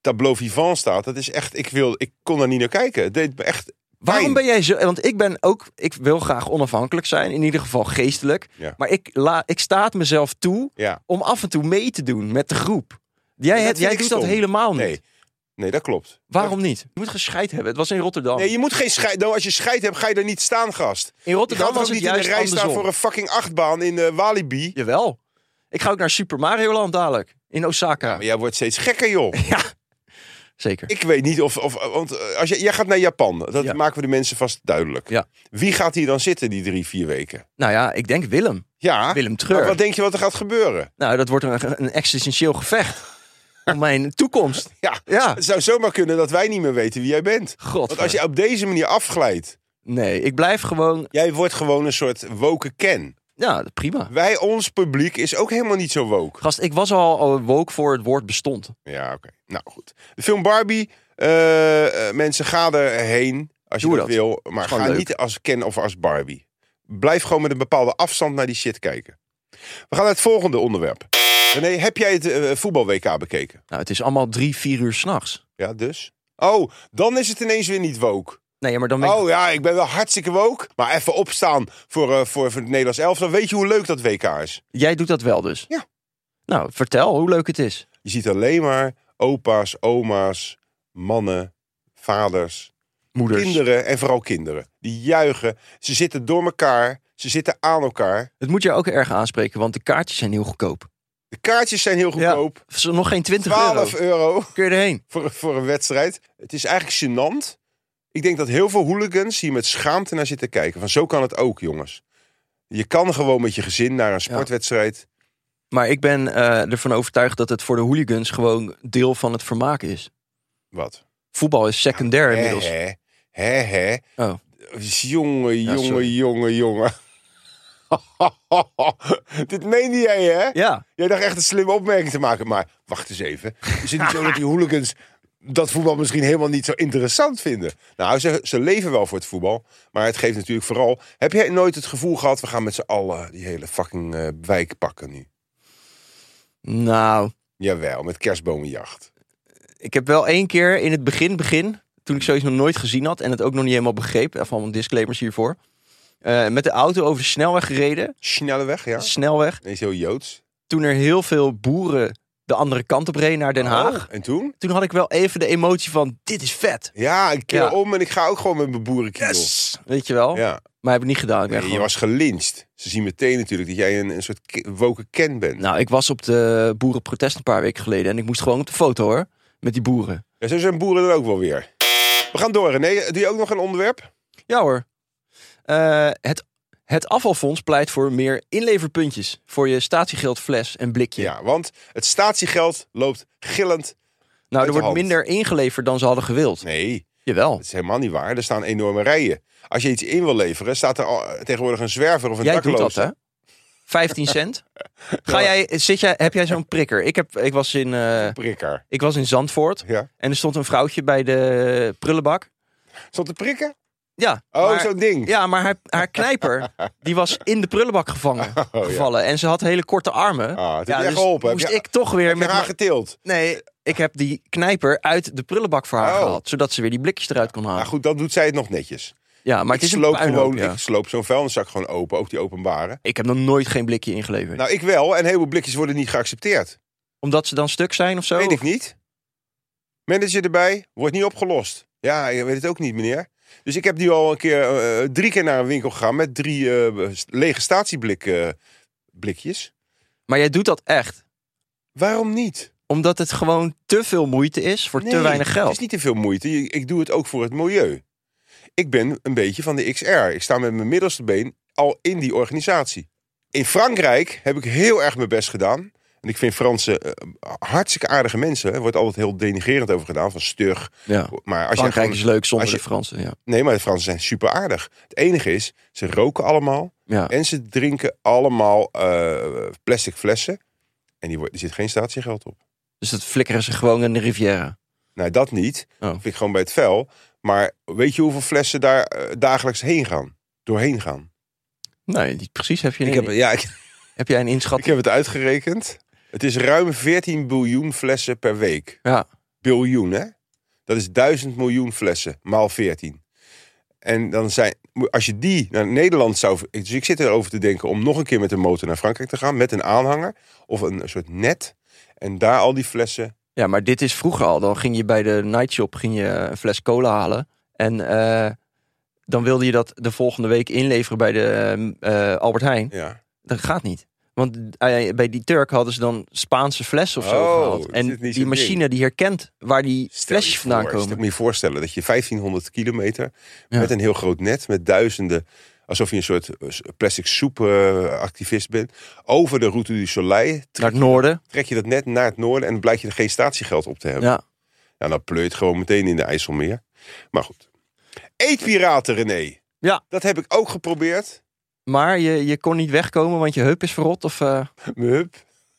tableau vivant staat. Dat is echt, ik, wil, ik kon daar niet naar kijken. Het deed me echt
Waarom
pijn.
ben jij zo... Want ik ben ook... Ik wil graag onafhankelijk zijn. In ieder geval geestelijk.
Ja.
Maar ik, la, ik staat mezelf toe
Ja.
om af en toe mee te doen met de groep. Jij,
Dat vind
hebt, jij
ik
doet dat
stom.
helemaal Oh, niet.
Nee. nee, dat klopt.
Waarom niet? Je moet gescheid hebben. Het was in Rotterdam.
Nee, je moet geen scheid... Nou, als je scheid hebt, ga je er niet staan, gast.
in
Je
Rotterdam
gaat er
was
ook
het
niet in de
juist
rij staan
andersom.
voor een fucking achtbaan in eh, Walibi.
Jawel. Ik ga ook naar Super Mario Land dadelijk. In Osaka.
Maar jij wordt steeds gekker, joh.
Zeker.
Ik weet niet of. of want eh, als je, jij gaat naar Japan, dat
Ja.
maken we de mensen vast duidelijk.
Ja.
Wie gaat hier dan zitten die drie, vier weken?
Nou ja, ik denk Willem.
Ja,
Willem Treur.
maar wat denk je wat er gaat gebeuren?
Nou, dat wordt een, een existentieel gevecht. om mijn toekomst.
Ja,
Ja.
het zou zomaar kunnen dat wij niet meer weten wie jij bent.
God. eh,
Want als je op deze manier afglijdt,
Nee, ik blijf gewoon...
jij wordt gewoon een soort woke ken.
Ja, prima.
Wij, ons publiek, is ook helemaal niet zo woke.
Gast, ik was al al woke voor het woord bestond.
Ja, oké. Nou goed. De film Barbie, eh, eh, mensen, ga erheen als
Doe
je dat,
dat.
wil. Maar
Is gewoon
ga
leuk.
niet als Ken of als Barbie. Blijf gewoon met een bepaalde afstand naar die shit kijken. We gaan naar het volgende onderwerp. René, heb jij het eh, voetbal-WK bekeken?
Nou, het is allemaal drie, vier uur s'nachts.
Ja, dus? Oh, dan is het ineens weer niet woke.
Nee, maar dan ben ik...
Oh ja, ik ben wel hartstikke woke. Maar even opstaan voor, eh, voor, voor het Nederlands elftal. Weet je hoe leuk dat WK is?
Jij doet dat wel dus?
Ja.
Nou, vertel hoe leuk het is.
Je ziet alleen maar opa's, oma's, mannen, vaders.
Moeders.
Kinderen en vooral kinderen. Die juichen. Ze zitten door elkaar. Ze zitten aan elkaar.
Het moet je ook erg aanspreken, want de kaartjes zijn heel goedkoop.
De kaartjes zijn heel goedkoop.
Of ze- Nog geen 20
12
euro.
euro
Kun je erheen?
voor, voor een wedstrijd. Het is eigenlijk gênant. Ik denk dat heel veel hooligans hier met schaamte naar zitten kijken. Van zo kan het ook, jongens. Je kan gewoon met je gezin naar een sportwedstrijd.
Maar ik ben eh, ervan overtuigd dat het voor de hooligans gewoon deel van het vermaak is.
Wat?
Voetbal is secundair
Hè,
inmiddels.
hè. Hè, hè.
Oh.
Jongen,
Ja,
jongen,
sorry.
jongen, jongen. Dit meende jij, hè?
Ja,
Jij dacht echt een slimme opmerking te maken, maar wacht eens even. Is het niet zo dat die hooligans dat voetbal misschien helemaal niet zo interessant vinden? Nou, ze, ze leven wel voor het voetbal, maar het geeft natuurlijk vooral... Heb jij nooit het gevoel gehad, we gaan met z'n allen die hele fucking eh, wijk pakken nu?
nou,
Jawel, met kerstbomenjacht.
ik heb wel één keer in het begin, begin, toen ik zoiets nog nooit gezien had en het ook nog niet helemaal begreep, even allemaal disclaimers hiervoor, eh, met de auto over de snelweg gereden,
Snelle weg, ja.
snelweg,
Dat is heel Joods.
toen er heel veel boeren de andere kant op reed naar Den Haag.
Oh, En toen?
Toen had ik wel even de emotie van, dit is vet.
Ja, ik keer
Ja.
om en ik ga ook gewoon met mijn boerenkiel.
Weet je wel?
Ja.
Maar heb ik niet gedaan. Ik ben
Nee, je
gewoon-
was gelinst. Ze zien meteen natuurlijk dat jij een, een soort ki- woken ken bent.
Nou, ik was op de boerenprotest een paar weken geleden en ik moest gewoon op de foto hoor. Met die boeren.
Ja, zo zijn boeren er ook wel weer. We gaan door. René, doe je ook nog een onderwerp?
Ja hoor. Eh, het, het afvalfonds pleit voor meer inleverpuntjes voor je statiegeldfles en blikje.
Ja, want het statiegeld loopt gillend.
nou,
uit de
er wordt
hand.
minder ingeleverd dan ze hadden gewild.
Nee,
Jawel.
dat is helemaal niet waar. Er staan enorme rijen. Als je iets in wil leveren, staat er al- eh, tegenwoordig een zwerver of een
Jij doet
dakloos.
dat, hè? 15 cent. Ga jij, zit jij, heb jij zo'n prikker? Ik, heb, ik, was in, eh,
Prikker.
ik was in Zandvoort
Ja.
en er stond een vrouwtje bij de prullenbak.
Stond te prikken?
Ja,
Oh,
maar-
zo'n ding.
Ja, maar haar, haar knijper, die was in de prullenbak gevangen,
Oh, ja.
gevallen. En ze had hele korte armen.
Ah, het heeft
ja, dus
je echt geholpen. Heb
moest
je-
ik toch weer
Heb je
met...
haar
mijn-
getild?
Nee, ik heb die knijper uit de prullenbak voor haar
Oh.
gehaald. Zodat ze weer die blikjes eruit kon halen.
Nou goed, dan doet zij het nog netjes.
Ja, Ah. maar
ik,
het is
sloop
een puinhoop,
gewoon,
ja.
ik sloop zo'n vuilniszak gewoon open, ook die openbare.
Ik heb nog nooit geen blikje ingeleverd.
Nou, ik wel. En heel veel blikjes worden niet geaccepteerd.
Omdat ze dan stuk zijn of zo?
Weet ik
Of-
niet. Manager erbij, wordt niet opgelost. Ja, je weet het ook niet, meneer. Dus ik heb nu al een keer, eh, drie keer naar een winkel gegaan met drie eh, st- lege statieblikken blikjes.
Maar jij doet dat echt.
Waarom niet?
Omdat het gewoon te veel moeite is voor te
Nee,
weinig geld.
Het is niet te veel moeite. Je- Ik doe het ook voor het milieu. Ik ben een beetje van de XR. Ik sta met mijn middelste been al in die organisatie. In Frankrijk heb ik heel erg mijn best gedaan. En ik vind Fransen eh, hartstikke aardige mensen. Er wordt altijd heel denigerend over gedaan, van stug.
Ja.
Maar als je
Frankrijk
gewoon-
is leuk zonder
als je-
de Fransen. Ja.
Nee, maar de Fransen zijn super aardig. Het enige is, ze roken allemaal
Ja.
en ze drinken allemaal eh, plastic flessen. En die wordt, er zit geen statiegeld op.
Dus dat flikkeren ze gewoon in de Riviera.
Nou, dat niet.
Oh.
Dat vind ik gewoon bij het vuil. Maar weet je hoeveel flessen daar eh, dagelijks heen gaan? Doorheen gaan.
Nee, niet precies. Heb, je
Ik
een,
heb,
heb...
ja, ik,
jij een
ik
inschatting?
heb het uitgerekend. Het is ruim 14 biljoen flessen per week.
Ja.
biljoen, hè? Dat is duizend miljoen flessen, maal 14. En dan zijn, als je die naar Nederland zou. Dus ik zit erover te denken om nog een keer met een motor naar Frankrijk te gaan. Met een aanhanger of een soort net. En daar al die flessen.
Ja, maar dit is vroeger al. Dan ging je bij de nightshop ging je een fles cola halen. En eh, dan wilde je dat de volgende week inleveren bij de eh, Albert Heijn.
Ja.
Dat gaat niet. Want eh, bij die Turk hadden ze dan Spaanse flessen of zo
Oh,
gehaald.
dat is
En
niet zo'n
die machine die herkent waar die
Stel je
flesjes
voor,
vandaan
Ik
komen.
moet je voorstellen dat je 1500 kilometer.
Ja.
met een heel groot net. met duizenden. alsof je een soort eh, plastic soep-activist bent. over de route du Soleil.
Naar het noorden.
trek je dat net naar het noorden. en blijkt je er geen statiegeld op te hebben.
Ja.
Ja, dan pleurt gewoon meteen in de IJsselmeer. Maar goed. Eetpiraten, René.
Ja.
Dat heb ik ook geprobeerd.
Maar je, je kon niet wegkomen, want je heup is verrot. Of eh,
Mijn hup.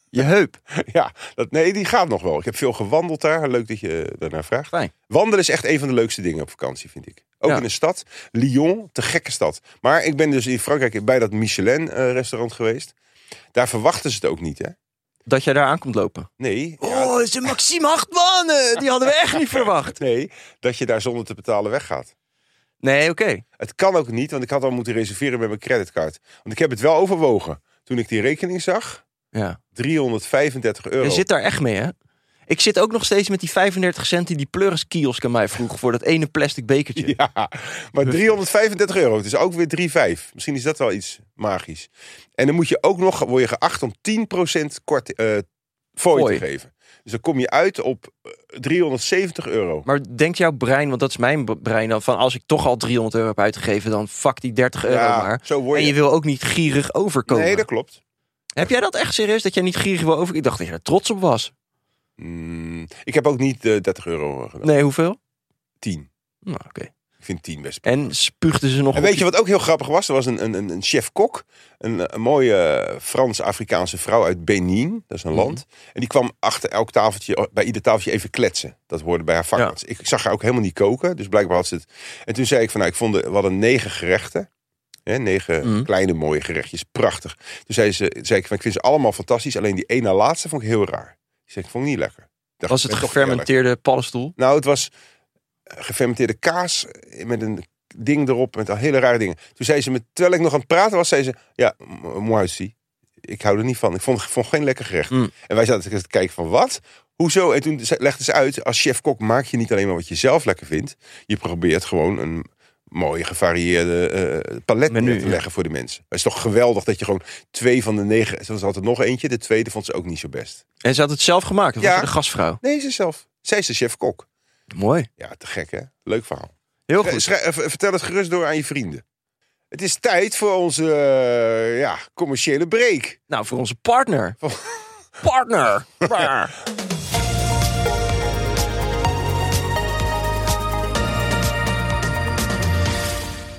je heup.
Ja, dat, nee, die gaat nog wel. Ik heb veel gewandeld daar. Leuk dat je eh, daarnaar vraagt.
Fijn.
Wandelen is echt een van de leukste dingen op vakantie, vind ik. Ook
Ja.
in een stad. Lyon, te gekke stad. Maar ik ben dus in Frankrijk bij dat Michelin-restaurant geweest. Daar verwachten ze het ook niet, hè?
Dat jij daar aan komt lopen.
Nee. ja,
Oh, is een Maxime Hartman. eh, Die hadden we echt niet verwacht.
nee, dat je daar zonder te betalen weggaat.
Nee, oké.
Het kan ook niet, want ik had al moeten reserveren met mijn creditcard. Want ik heb het wel overwogen. Toen ik die rekening zag,
Ja.
335 euro.
Je zit daar echt mee, hè? Ik zit ook nog steeds met die 35 cent die die Pleuris kiosk aan mij vroeg voor dat ene plastic bekertje.
Ja, maar 335 euro. Het is ook weer 3,5. Misschien is dat wel iets magisch. En dan moet je ook nog, word je geacht om 10% kort, eh fooi
Fooi.
te geven. Dus dan kom je uit op eh, 370 euro.
Maar denkt jouw brein, want dat is mijn b- brein dan, van als ik toch al 300 euro heb uitgegeven, dan fuck die 30 euro
Ja,
maar.
zo word
En je
je.
wil ook niet gierig overkomen.
Nee, dat klopt.
Heb jij dat echt serieus, dat jij niet gierig wil overkomen? Ik dacht dat je er trots op was.
Mm, ik heb ook niet eh, 30 euro gedaan.
Nee, hoeveel?
10.
Nou, oké.
Ik vind 10 best
En spuugden ze nog
En
op
weet je wat ook heel grappig was? Er was een, een, een- een chef-kok, een, een mooie eh, Frans-Afrikaanse vrouw uit Benin, dat is
Mhm.
een land. En die kwam achter elk tafeltje, oh, bij ieder tafeltje even kletsen. Dat hoorde bij haar vak.
Ja.
Want Ik, ik zag haar ook helemaal niet koken, dus blijkbaar had ze het. En toen zei ik van, nou, ik vond, er- we hadden negen gerechten. Hè, negen
Mhm.
kleine mooie gerechtjes, prachtig. Toen zei, ze, zei ik van, ik vind ze allemaal fantastisch, alleen die ene laatste vond ik heel raar. Ik zei, ik vond het niet lekker. Ik dacht,
Was
ik
het
ben toch eerlijk.
gefermenteerde paddenstoel?
Nou, het was eh, gefermenteerde kaas eh, met een ding erop, met al hele rare dingen. Toen zei ze, me, terwijl ik nog aan het praten was, zei ze, ja, m- moi aussi. ik hou er niet van. Ik vond, vond geen lekker gerecht.
Mm.
En wij zaten te kijken van wat? Hoezo? En toen ze- legde ze uit, als chef-kok maak je niet alleen maar wat je zelf lekker vindt. Je probeert gewoon een mooie gevarieerde eh, palet
Menu,
neer te
ja.
leggen voor de mensen. Het is toch geweldig dat je gewoon twee van de negen... Ze had er nog eentje, de tweede vond ze ook niet zo best.
En ze had het zelf gemaakt. Dat
Ja.
was ze de gastvrouw.
Nee, ze zelf. Zij is de chef-kok.
Mooi.
Ja, te gek hè? Leuk verhaal.
Heel
Schrij-
goed.
schrij- eh, vertel het gerust door aan je vrienden. Het is tijd voor onze eh, ja, commerciële break.
Nou, voor onze partner. Partner. Waar?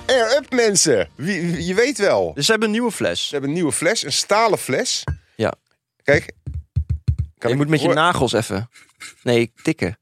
Air up mensen. Wie, wie- je weet wel.
dus ze hebben een nieuwe fles.
Ze hebben een nieuwe fles, een stalen fles.
Ja.
Kijk. Kan ik-
je moet met je
hoor-
nagels even. Nee, tikken.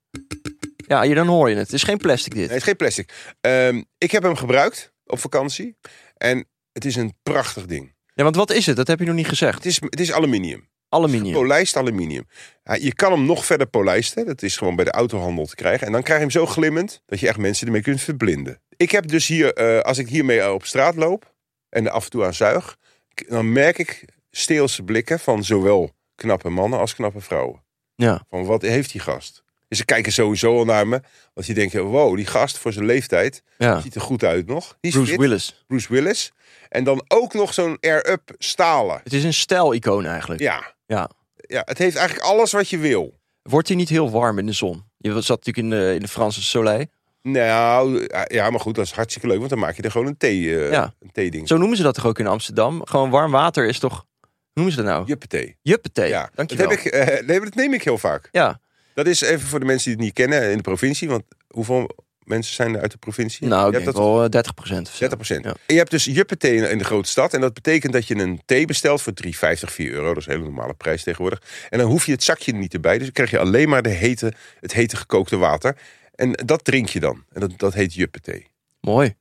Ja, hier, dan hoor je het. Het is geen plastic dit.
Nee, het is geen plastic. Ehm, ik heb hem gebruikt op vakantie. En het is een prachtig ding.
Ja, want wat is het? Dat heb je nog niet
Het
gezegd.
is, het is aluminium.
Aluminium.
Polijst aluminium. Ja, je kan hem nog verder polijsten. Dat is gewoon bij de autohandel te krijgen. En dan krijg je hem zo glimmend dat je echt mensen ermee kunt verblinden. Ik heb dus hier, eh, als ik hiermee op straat loop en er af en toe aan zuig, k- dan merk ik steelse blikken van zowel knappe mannen als knappe vrouwen.
Ja.
Van wat heeft die gast? Dus ze kijken sowieso al naar me. Want die denken, wow, die gast voor zijn leeftijd
ja.
ziet er goed uit nog. Die is
Bruce
fit.
Willis.
Bruce Willis. En dan ook nog zo'n air-up stalen.
Het is een stijl-icoon eigenlijk.
Ja.
Ja.
ja, het heeft eigenlijk alles wat je wil.
Wordt hij niet heel warm in de zon? Je zat natuurlijk in de, in de Franse soleil.
Nou, ja, maar goed, dat is hartstikke leuk, want dan maak je er gewoon een thee, eh,
Ja.
een theeding.
Zo noemen ze dat toch ook in Amsterdam? Gewoon warm water is toch... Hoe noemen ze dat nou?
Juppethee.
Juppethee.
Ja, dat,
Dankjewel.
heb ik, eh, nee, maar dat neem ik heel vaak.
Ja.
Dat is even voor de mensen die het niet kennen in de provincie, want hoeveel mensen zijn er uit de provincie?
Nou, ik
je hebt
denk
dat
wel eh, 30 procent
30 procent.
Ja.
Je hebt dus Juppethee in- in de grote stad. En dat betekent dat je een thee bestelt voor 3,50, 4 euro. Dat is een hele normale prijs tegenwoordig. En dan hoef je het zakje er niet erbij. Dus dan krijg je alleen maar de hete, het hete gekookte water. En dat drink je dan. En dat, dat heet Juppethee.
Mooi.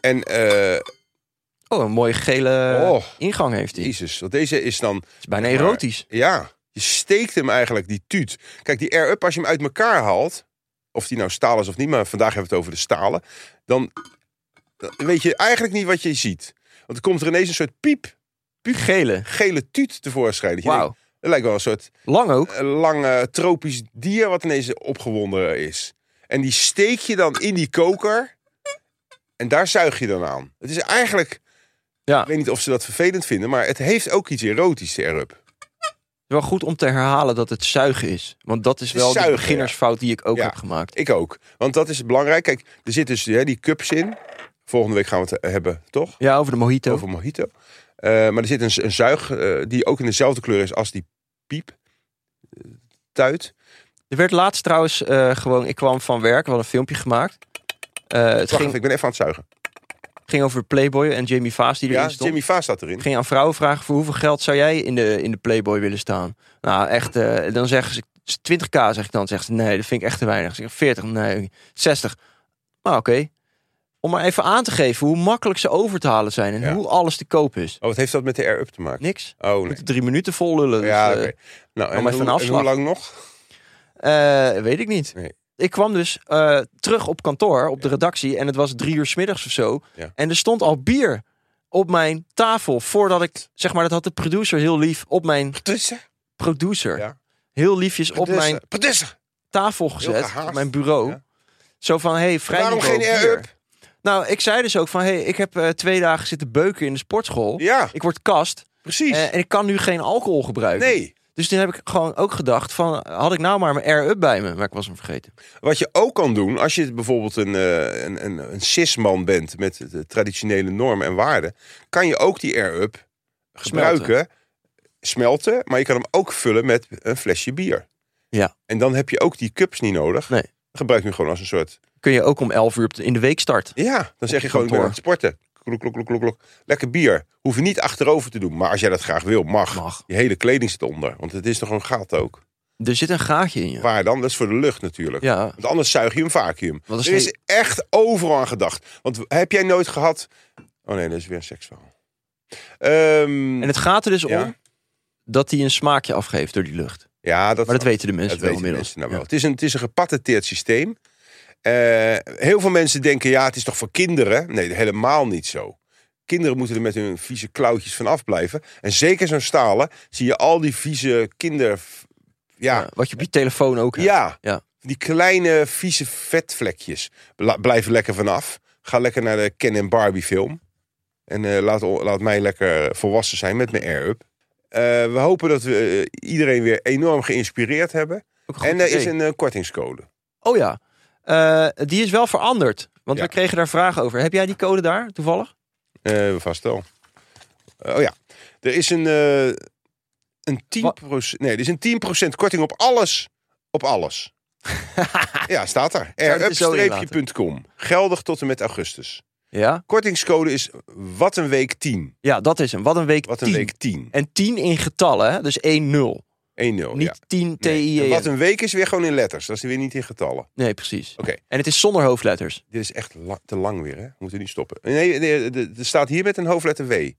En, eh
Oh, een mooie gele
Oh.
ingang heeft hij. Het
jezus, want deze is dan...
is bijna erotisch.
Ja, je steekt hem eigenlijk, die tuut. Kijk, die air-up, als je hem uit elkaar haalt... of die nou staal is of niet, maar vandaag hebben we het over de stalen... dan, dan weet je eigenlijk niet wat je ziet. Want er komt er ineens een soort piep,
Gele.
gele tuut tevoorschijn. Dat je
Wauw.
denkt, het lijkt wel een soort
Lang ook.
eh, lang eh, tropisch dier wat ineens opgewonden is. En die steek je dan in die koker... en daar zuig je dan aan. Het is eigenlijk...
Ja.
Ik weet niet of ze dat vervelend vinden, maar het heeft ook iets erotisch, de air-up.
Het is wel goed om te herhalen dat het zuigen is. Want dat is
is
wel de
zuigen,
beginnersfout die ik ook
Ja.
heb gemaakt.
Ik ook. Want dat is belangrijk. Kijk, er zitten dus hè, die cups in. Volgende week gaan we het eh, hebben, toch?
Ja, over de mojito.
Over mojito. Eh, maar er zit een, z- een zuig eh, die ook in dezelfde kleur is als die piep. eh, Tuit.
Er werd laatst trouwens eh, gewoon... Ik kwam van werk, we hadden een filmpje gemaakt. Eh, het
Wacht even,
ging,
ik ben even aan het zuigen.
ging over Playboy en Jamie Vaas die erin
Ja,
stond.
Jimmy Vaas staat erin.
Ik ging aan vrouwen vragen voor hoeveel geld zou jij in de, in de Playboy willen staan? Nou, echt, eh, dan zeggen ze 20k, zeg ik dan. Zegt ze, nee, dat vind ik echt te weinig. Zeg ik, 40, nee, 60. Maar oké. Om maar even aan te geven hoe makkelijk ze over te halen zijn en
Ja.
hoe alles te koop is.
Oh, wat heeft dat met de air-up te maken?
Niks.
Oh,
Je
nee.
moet drie minuten vol lullen. dus,
Ja,
eh,
oké. Nou, en
even een
hoe, en
afslag.
hoe lang nog?
eh, weet ik niet.
Nee.
Ik kwam dus eh, terug op kantoor, op de redactie. En het was drie uur 's middags of zo.
Ja.
En er stond al bier op mijn tafel. Voordat ik, zeg maar, dat had de producer heel lief op mijn
Producer.
producer.
Ja.
Heel liefjes op
Producer.
mijn
Producer.
tafel
Heel
gezet,
gehaast.
op mijn bureau.
Ja.
Zo van, hey, vrij
Waarom
niveau,
geen
bier.
air-up?
Nou, ik zei dus ook van, hey, ik heb eh, twee dagen zitten beuken in de sportschool.
Ja,
Ik word kast
precies.
eh, en ik kan nu geen alcohol gebruiken.
nee.
Dus toen heb ik gewoon ook gedacht van, had ik nou maar mijn air-up bij me? Maar ik was hem vergeten.
Wat je ook kan doen, als je bijvoorbeeld een, eh, een, een, een cisman bent met de traditionele normen en waarden, kan je ook die air-up gebruiken, smelten. maar je kan hem ook vullen met een flesje bier.
Ja.
En dan heb je ook die cups niet nodig.
Nee.
Gebruik je hem gewoon als een soort.
Kun je ook om 11 uur op de- in de week starten.
Ja, dan zeg je gewoon: ik ben aan
kantoor.
het sporten. Klok, klok, klok, klok, klok. Lekker bier. Hoef je niet achterover te doen. Maar als jij dat graag wil, mag.
Mag.
Je hele kleding zit onder. Want het is toch een gat ook.
Er zit een gaatje in je.
Waar dan? Dat is voor de lucht natuurlijk.
Ja,
Want anders zuig je een vacuüm.
Wat is
er is
die-
echt overal aan gedacht. Want heb jij nooit gehad... Oh nee, dat is weer een seksverhaal. Ehm,
en het gaat er dus
Ja.
om dat hij een smaakje afgeeft door die lucht.
ja, dat,
Maar dat weten de mensen
dat
wel
weten
inmiddels.
mensen nou wel.
Ja.
Het, is een, het is een gepatenteerd systeem. Eh, heel veel mensen denken, ja, het is toch voor kinderen? Nee, helemaal niet zo. kinderen moeten er met hun vieze klauwtjes van afblijven. En zeker zo'n stalen zie je al die vieze kinder... Ja,
Ja, wat je op je telefoon ook hebt.
nou ja.
Ja.
Die kleine vieze vetvlekjes. Bla- blijf er lekker vanaf. Ga lekker naar de Ken en Barbie film. En eh, laat, o- laat mij lekker eh, volwassen zijn met mijn air-up. Eh, we hopen dat we eh, iedereen weer enorm geïnspireerd hebben.
Ook een goed
En er is
idee.
een eh, kortingscode.
Oh ja, Eh, die is wel veranderd. Want
Ja.
we kregen daar vragen over. Heb jij die code daar, toevallig?
Eh, vast wel. Eh, oh ja. Er is een, eh, een 10%, nee, er is een 10% korting op alles. Op alles. ja, staat er.
het er zo inlaten?
Airup-com. Geldig tot en met augustus.
Ja.
Kortingscode is wat een week 10.
Ja, dat is hem. Wat een week
Wat een
10.
week 10. 1-0.
En 10 in getallen, hè? dus 1-0.
Oh, ja.
Niet 10 t
Nee,
i
en
e
Wat een week is weer gewoon in letters. Dat is weer niet in getallen.
Nee, precies.
Oké.
En het is zonder hoofdletters.
Dit is echt la- te lang weer, hè? We moeten niet stoppen. Nee, nee, de- de- er staat hier met een hoofdletter W.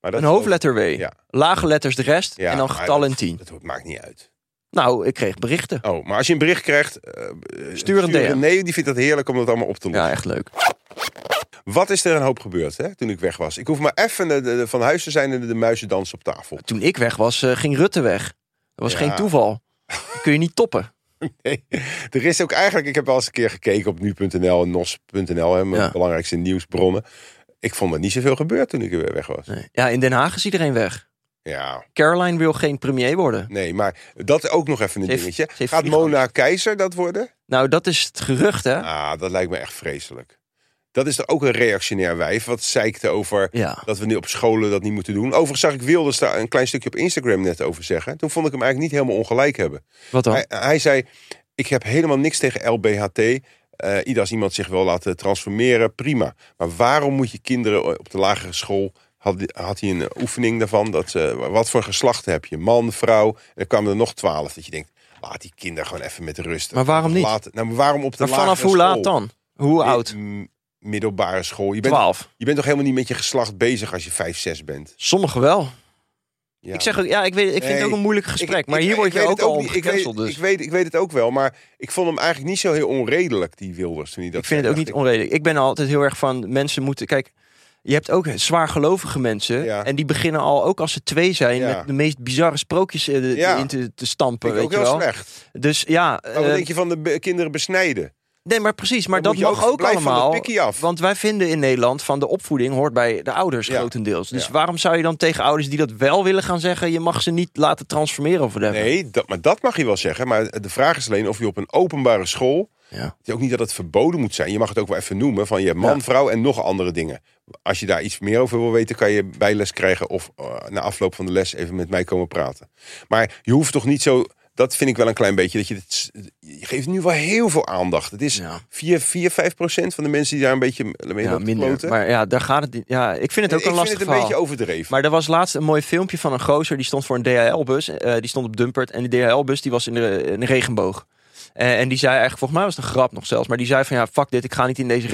Maar dat
een hoofdletter W.
Ja.
Lage letters de rest.
Ja,
en dan
maar
getallen in
dat-
10.
Dat, ho- maakt niet uit.
Nou, ik kreeg berichten.
Oh, maar als je een bericht krijgt... eh, eh,
Stuur een DM.
Nee, die vindt dat heerlijk om dat allemaal op te lossen.
Ja, echt leuk.
Wat is er een hoop gebeurd, hè? Toen ik weg was. Ik hoef maar even eh, de- de- van huis te zijn en de, de muizen dansen op tafel.
Toen ik weg was, eh, ging Rutte weg. Dat was
Ja.
geen toeval. Dat kun je niet toppen.
Nee, er is ook eigenlijk, ik heb wel eens een keer gekeken op nu.nl en nos.nl, hè, mijn
Ja.
belangrijkste nieuwsbronnen. Ik vond er niet zoveel gebeurd toen ik weer weg was.
Nee. Ja, in Den Haag is iedereen weg.
Ja,
Caroline wil geen premier worden.
nee, maar dat ook nog even een
Ze heeft-
dingetje.
ze heeft
Gaat
vliegangst.
Mona Keizer dat worden?
Nou, dat is het gerucht, hè?
Ah, dat lijkt me echt vreselijk. Dat is toch ook een reactionair wijf, wat zeikte over
Ja.
dat we nu op scholen dat niet moeten doen. Overigens zag ik Wilders daar een klein stukje op Instagram net over zeggen. Toen vond ik hem eigenlijk niet helemaal ongelijk hebben.
Wat dan?
Hij, hij zei: Ik heb helemaal niks tegen LBHT. Eh, ieder als iemand zich wil laten transformeren, prima. Maar waarom moet je kinderen op de lagere school. Had, had hij een eh, oefening daarvan? Dat ze, wat voor geslacht heb je? Man, vrouw. En er kwamen er nog twaalf. Dat je denkt: laat die kinderen gewoon even met rust.
Maar waarom niet?
Laat, nou, maar waarom op de
Maar
lagere
vanaf hoe
school?
laat dan? Hoe oud?
Mi- m- middelbare school. Je bent,
12.
je bent toch helemaal niet met je geslacht bezig als je 5, 6 bent?
Sommigen wel.
Ja.
Ik zeg ook, ja, ik, weet, ik vind
Nee.
het ook een moeilijk gesprek.
Ik-
maar
ik-
hier
ik
word je
weet
ook
het
al om
niet. ik weet,
gecanceld, dus.
Ik weet, ik weet het ook wel, maar ik vond hem eigenlijk niet zo heel onredelijk, die Wilders. Toen hij dat
Ik vind
zei.
het ook niet
Dacht
onredelijk. Ik ben altijd heel erg van mensen moeten. Kijk, je hebt ook zwaar gelovige mensen.
Ja.
En die beginnen al, ook als ze twee zijn,
Ja.
met de meest bizarre sprookjes eh, de-
Ja.
in te, te stampen.
ik
weet
ook
je
heel
wel.
slecht.
Dus ja,
Maar oh, wat
eh,
denk je van de be- kinderen besnijden?
nee, maar precies. Maar
Dan
dat
moet je
mag
ook-
ook
blijf van dat
allemaal.
pikkie af.
Want wij vinden in Nederland van de opvoeding hoort bij de ouders
Ja.
grotendeels. Dus
Ja.
waarom zou je dan tegen ouders die dat wel willen gaan zeggen, je mag ze niet laten transformeren of whatever?
Nee, dat, maar dat mag je wel zeggen. Maar de vraag is alleen of je op een openbare school...
Ja.
Het is ook niet dat het verboden moet zijn. Je mag het ook wel even noemen van je hebt man,
Ja.
vrouw en nog andere dingen. Als je daar iets meer over wil weten, kan je bijles krijgen... of eh, na afloop van de les even met mij komen praten. Maar je hoeft toch niet zo... Dat vind ik wel een klein beetje. Dat je, het, je geeft nu wel heel veel aandacht. Het is
Ja.
4, 4, 5 procent van de mensen die daar een beetje eh, mee
Ja,
lopen te
minder.
kloten.
Maar ja, daar gaat het. niet- Ja, ik vind het ook
ik
een
vind
lastig
het een
verhaal.
beetje overdreven.
Maar er was laatst een mooi filmpje van een gozer. Die stond voor een DHL-bus. eh, die stond op Dumpert. En die DHL-bus die was in de, in de regenboog. Eh, en die zei eigenlijk, volgens mij was het een grap nog zelfs. Maar die zei van, ja, fuck dit. Ik ga niet in deze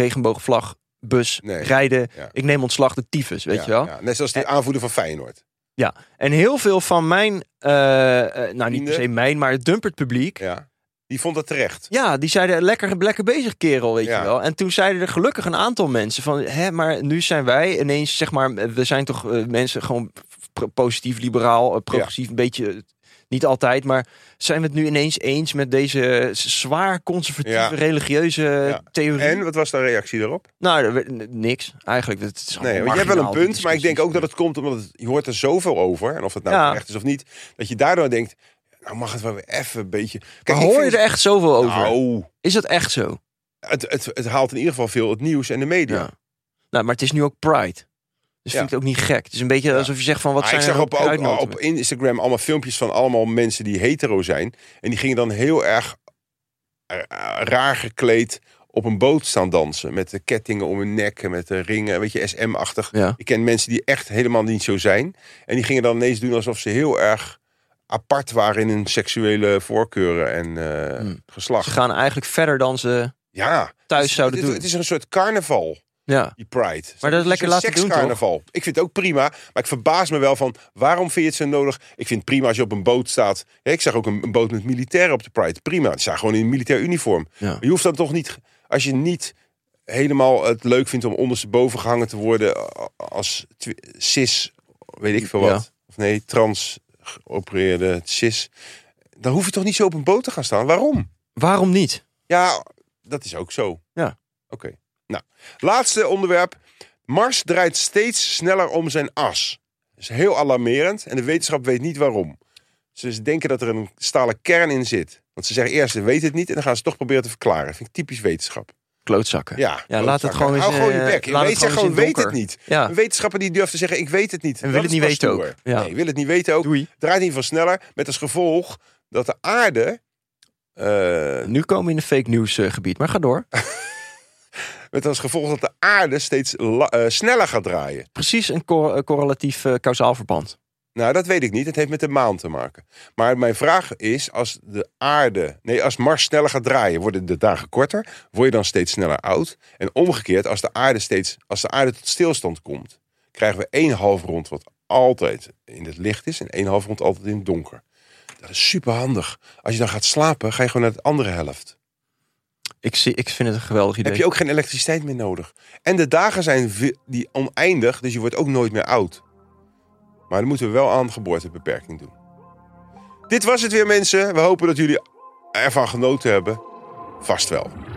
regenboogvlagbus
Nee.
rijden.
Ja.
Ik neem ontslag de tyfus, weet
Ja,
je wel.
ja. Net zoals de
En-
aanvoerder van Feyenoord.
Ja. En heel veel van mijn, eh, eh, nou niet per se
Vrienden.
mijn, maar het Dumpert-publiek. Ja.
Ja. Die vond dat terecht.
die zeiden lekker, lekker bezig kerel, weet
Ja.
je wel. En toen zeiden er gelukkig een aantal mensen van... Hè, maar nu zijn wij ineens, zeg maar... We zijn toch eh, mensen gewoon pro- positief, liberaal, eh, progressief, een beetje... eh, Niet altijd, maar zijn we het nu ineens eens met deze zwaar conservatieve
Ja.
religieuze
Ja.
theorie?
En wat was de reactie daarop?
Nou, er werd n- niks. Eigenlijk, het is gewoon
Nee, want je hebt wel een
Nou, marginaal, die
punt, maar ik denk ook dat het komt omdat het, je hoort er zoveel over. En of het nou
Ja.
terecht is of niet. Dat je daardoor denkt, nou mag het wel weer even een beetje...
Maar
Kijk, ik
hoor je
vind-
er echt zoveel over?
Nou,
Is dat echt zo?
het, het, het haalt in ieder geval veel het nieuws en de media.
Ja. Nou, maar het is nu ook Pride. Dus
Ja.
vind ik het ook niet gek. Het is een beetje alsof je zegt van wat
Maar
zijn
ik zag
er
op, ook-
kruidnoten
op
met-
Instagram allemaal filmpjes van allemaal mensen die hetero zijn. En die gingen dan heel erg eh, raar gekleed op een boot staan dansen. Met de kettingen om hun nek en met de ringen. Weet je, SM-achtig.
Ja.
Ik ken mensen die echt helemaal niet zo zijn. En die gingen dan ineens doen alsof ze heel erg apart waren in hun seksuele voorkeuren en eh,
Hmm.
geslacht.
Ze gaan eigenlijk verder dan ze
ja.
thuis
Het is-
zouden
het,
doen.
Het is een soort carnaval
Ja.
die Pride.
Maar dat is lekker
Een soort
laten doen,
sekscarnaval. Ik vind het ook prima, maar ik verbaas me wel van waarom vind je het zo nodig? Ik vind het prima als je op een boot staat. Ja, ik zag ook een, een boot met militairen op de Pride. Prima, ze staan gewoon in een militair uniform.
Ja.
Maar je hoeft dan toch niet, als je niet helemaal het leuk vindt om ondersteboven gehangen te worden eh, als twi- cis, weet ik veel wat.
Ja.
Of nee, trans geopereerde cis. Dan hoef je toch niet zo op een boot te gaan staan? Waarom?
Waarom niet?
Ja, dat is ook zo.
Ja.
Oké. Nou, laatste onderwerp. Mars draait steeds sneller om zijn as. Dat is heel alarmerend en de wetenschap weet niet waarom. Ze denken dat er een stalen kern in zit. Want ze zeggen eerst, ze weten het niet en dan gaan ze het toch proberen te verklaren. vind ik typisch wetenschap.
Klootzakken.
Ja,
ja laat het
klootzakken.
gewoon eens...
Hou gewoon je
eh,
bek.
laat
Weet, zeg
eens
gewoon,
in
weet het
donker.
niet. Eh,
Ja.
Een wetenschapper die durft te zeggen, ik weet het niet.
En wil
Dat
het
is
niet
pas
weten
stoer.
ook. Ja.
Nee, wil het niet weten ook.
Doei.
Draait in ieder geval sneller. Met als gevolg dat de aarde... eh,
Nu komen we in de fake news eh, gebied, maar ga door.
met als gevolg dat de aarde steeds la- eh, sneller gaat draaien.
Precies een cor- eh, correlatief eh, kausaal verband.
Nou, dat weet ik niet. Het heeft met de maan te maken. Maar mijn vraag is, als de aarde... Nee, als Mars sneller gaat draaien, worden de dagen korter? Word je dan steeds sneller oud? En omgekeerd, als de aarde, steeds, als de aarde tot stilstand komt... krijgen we één halfrond wat altijd in het licht is... en één halfrond altijd in het donker. Dat is superhandig. Als je dan gaat slapen, ga je gewoon naar de andere helft.
Ik, zie, ik vind het een geweldig idee.
Heb je ook geen elektriciteit meer nodig. En de dagen zijn ve- die oneindig, dus je wordt ook nooit meer oud. Maar dan moeten we wel aan geboortebeperking doen. Dit was het weer mensen. We hopen dat jullie ervan genoten hebben. Vast wel.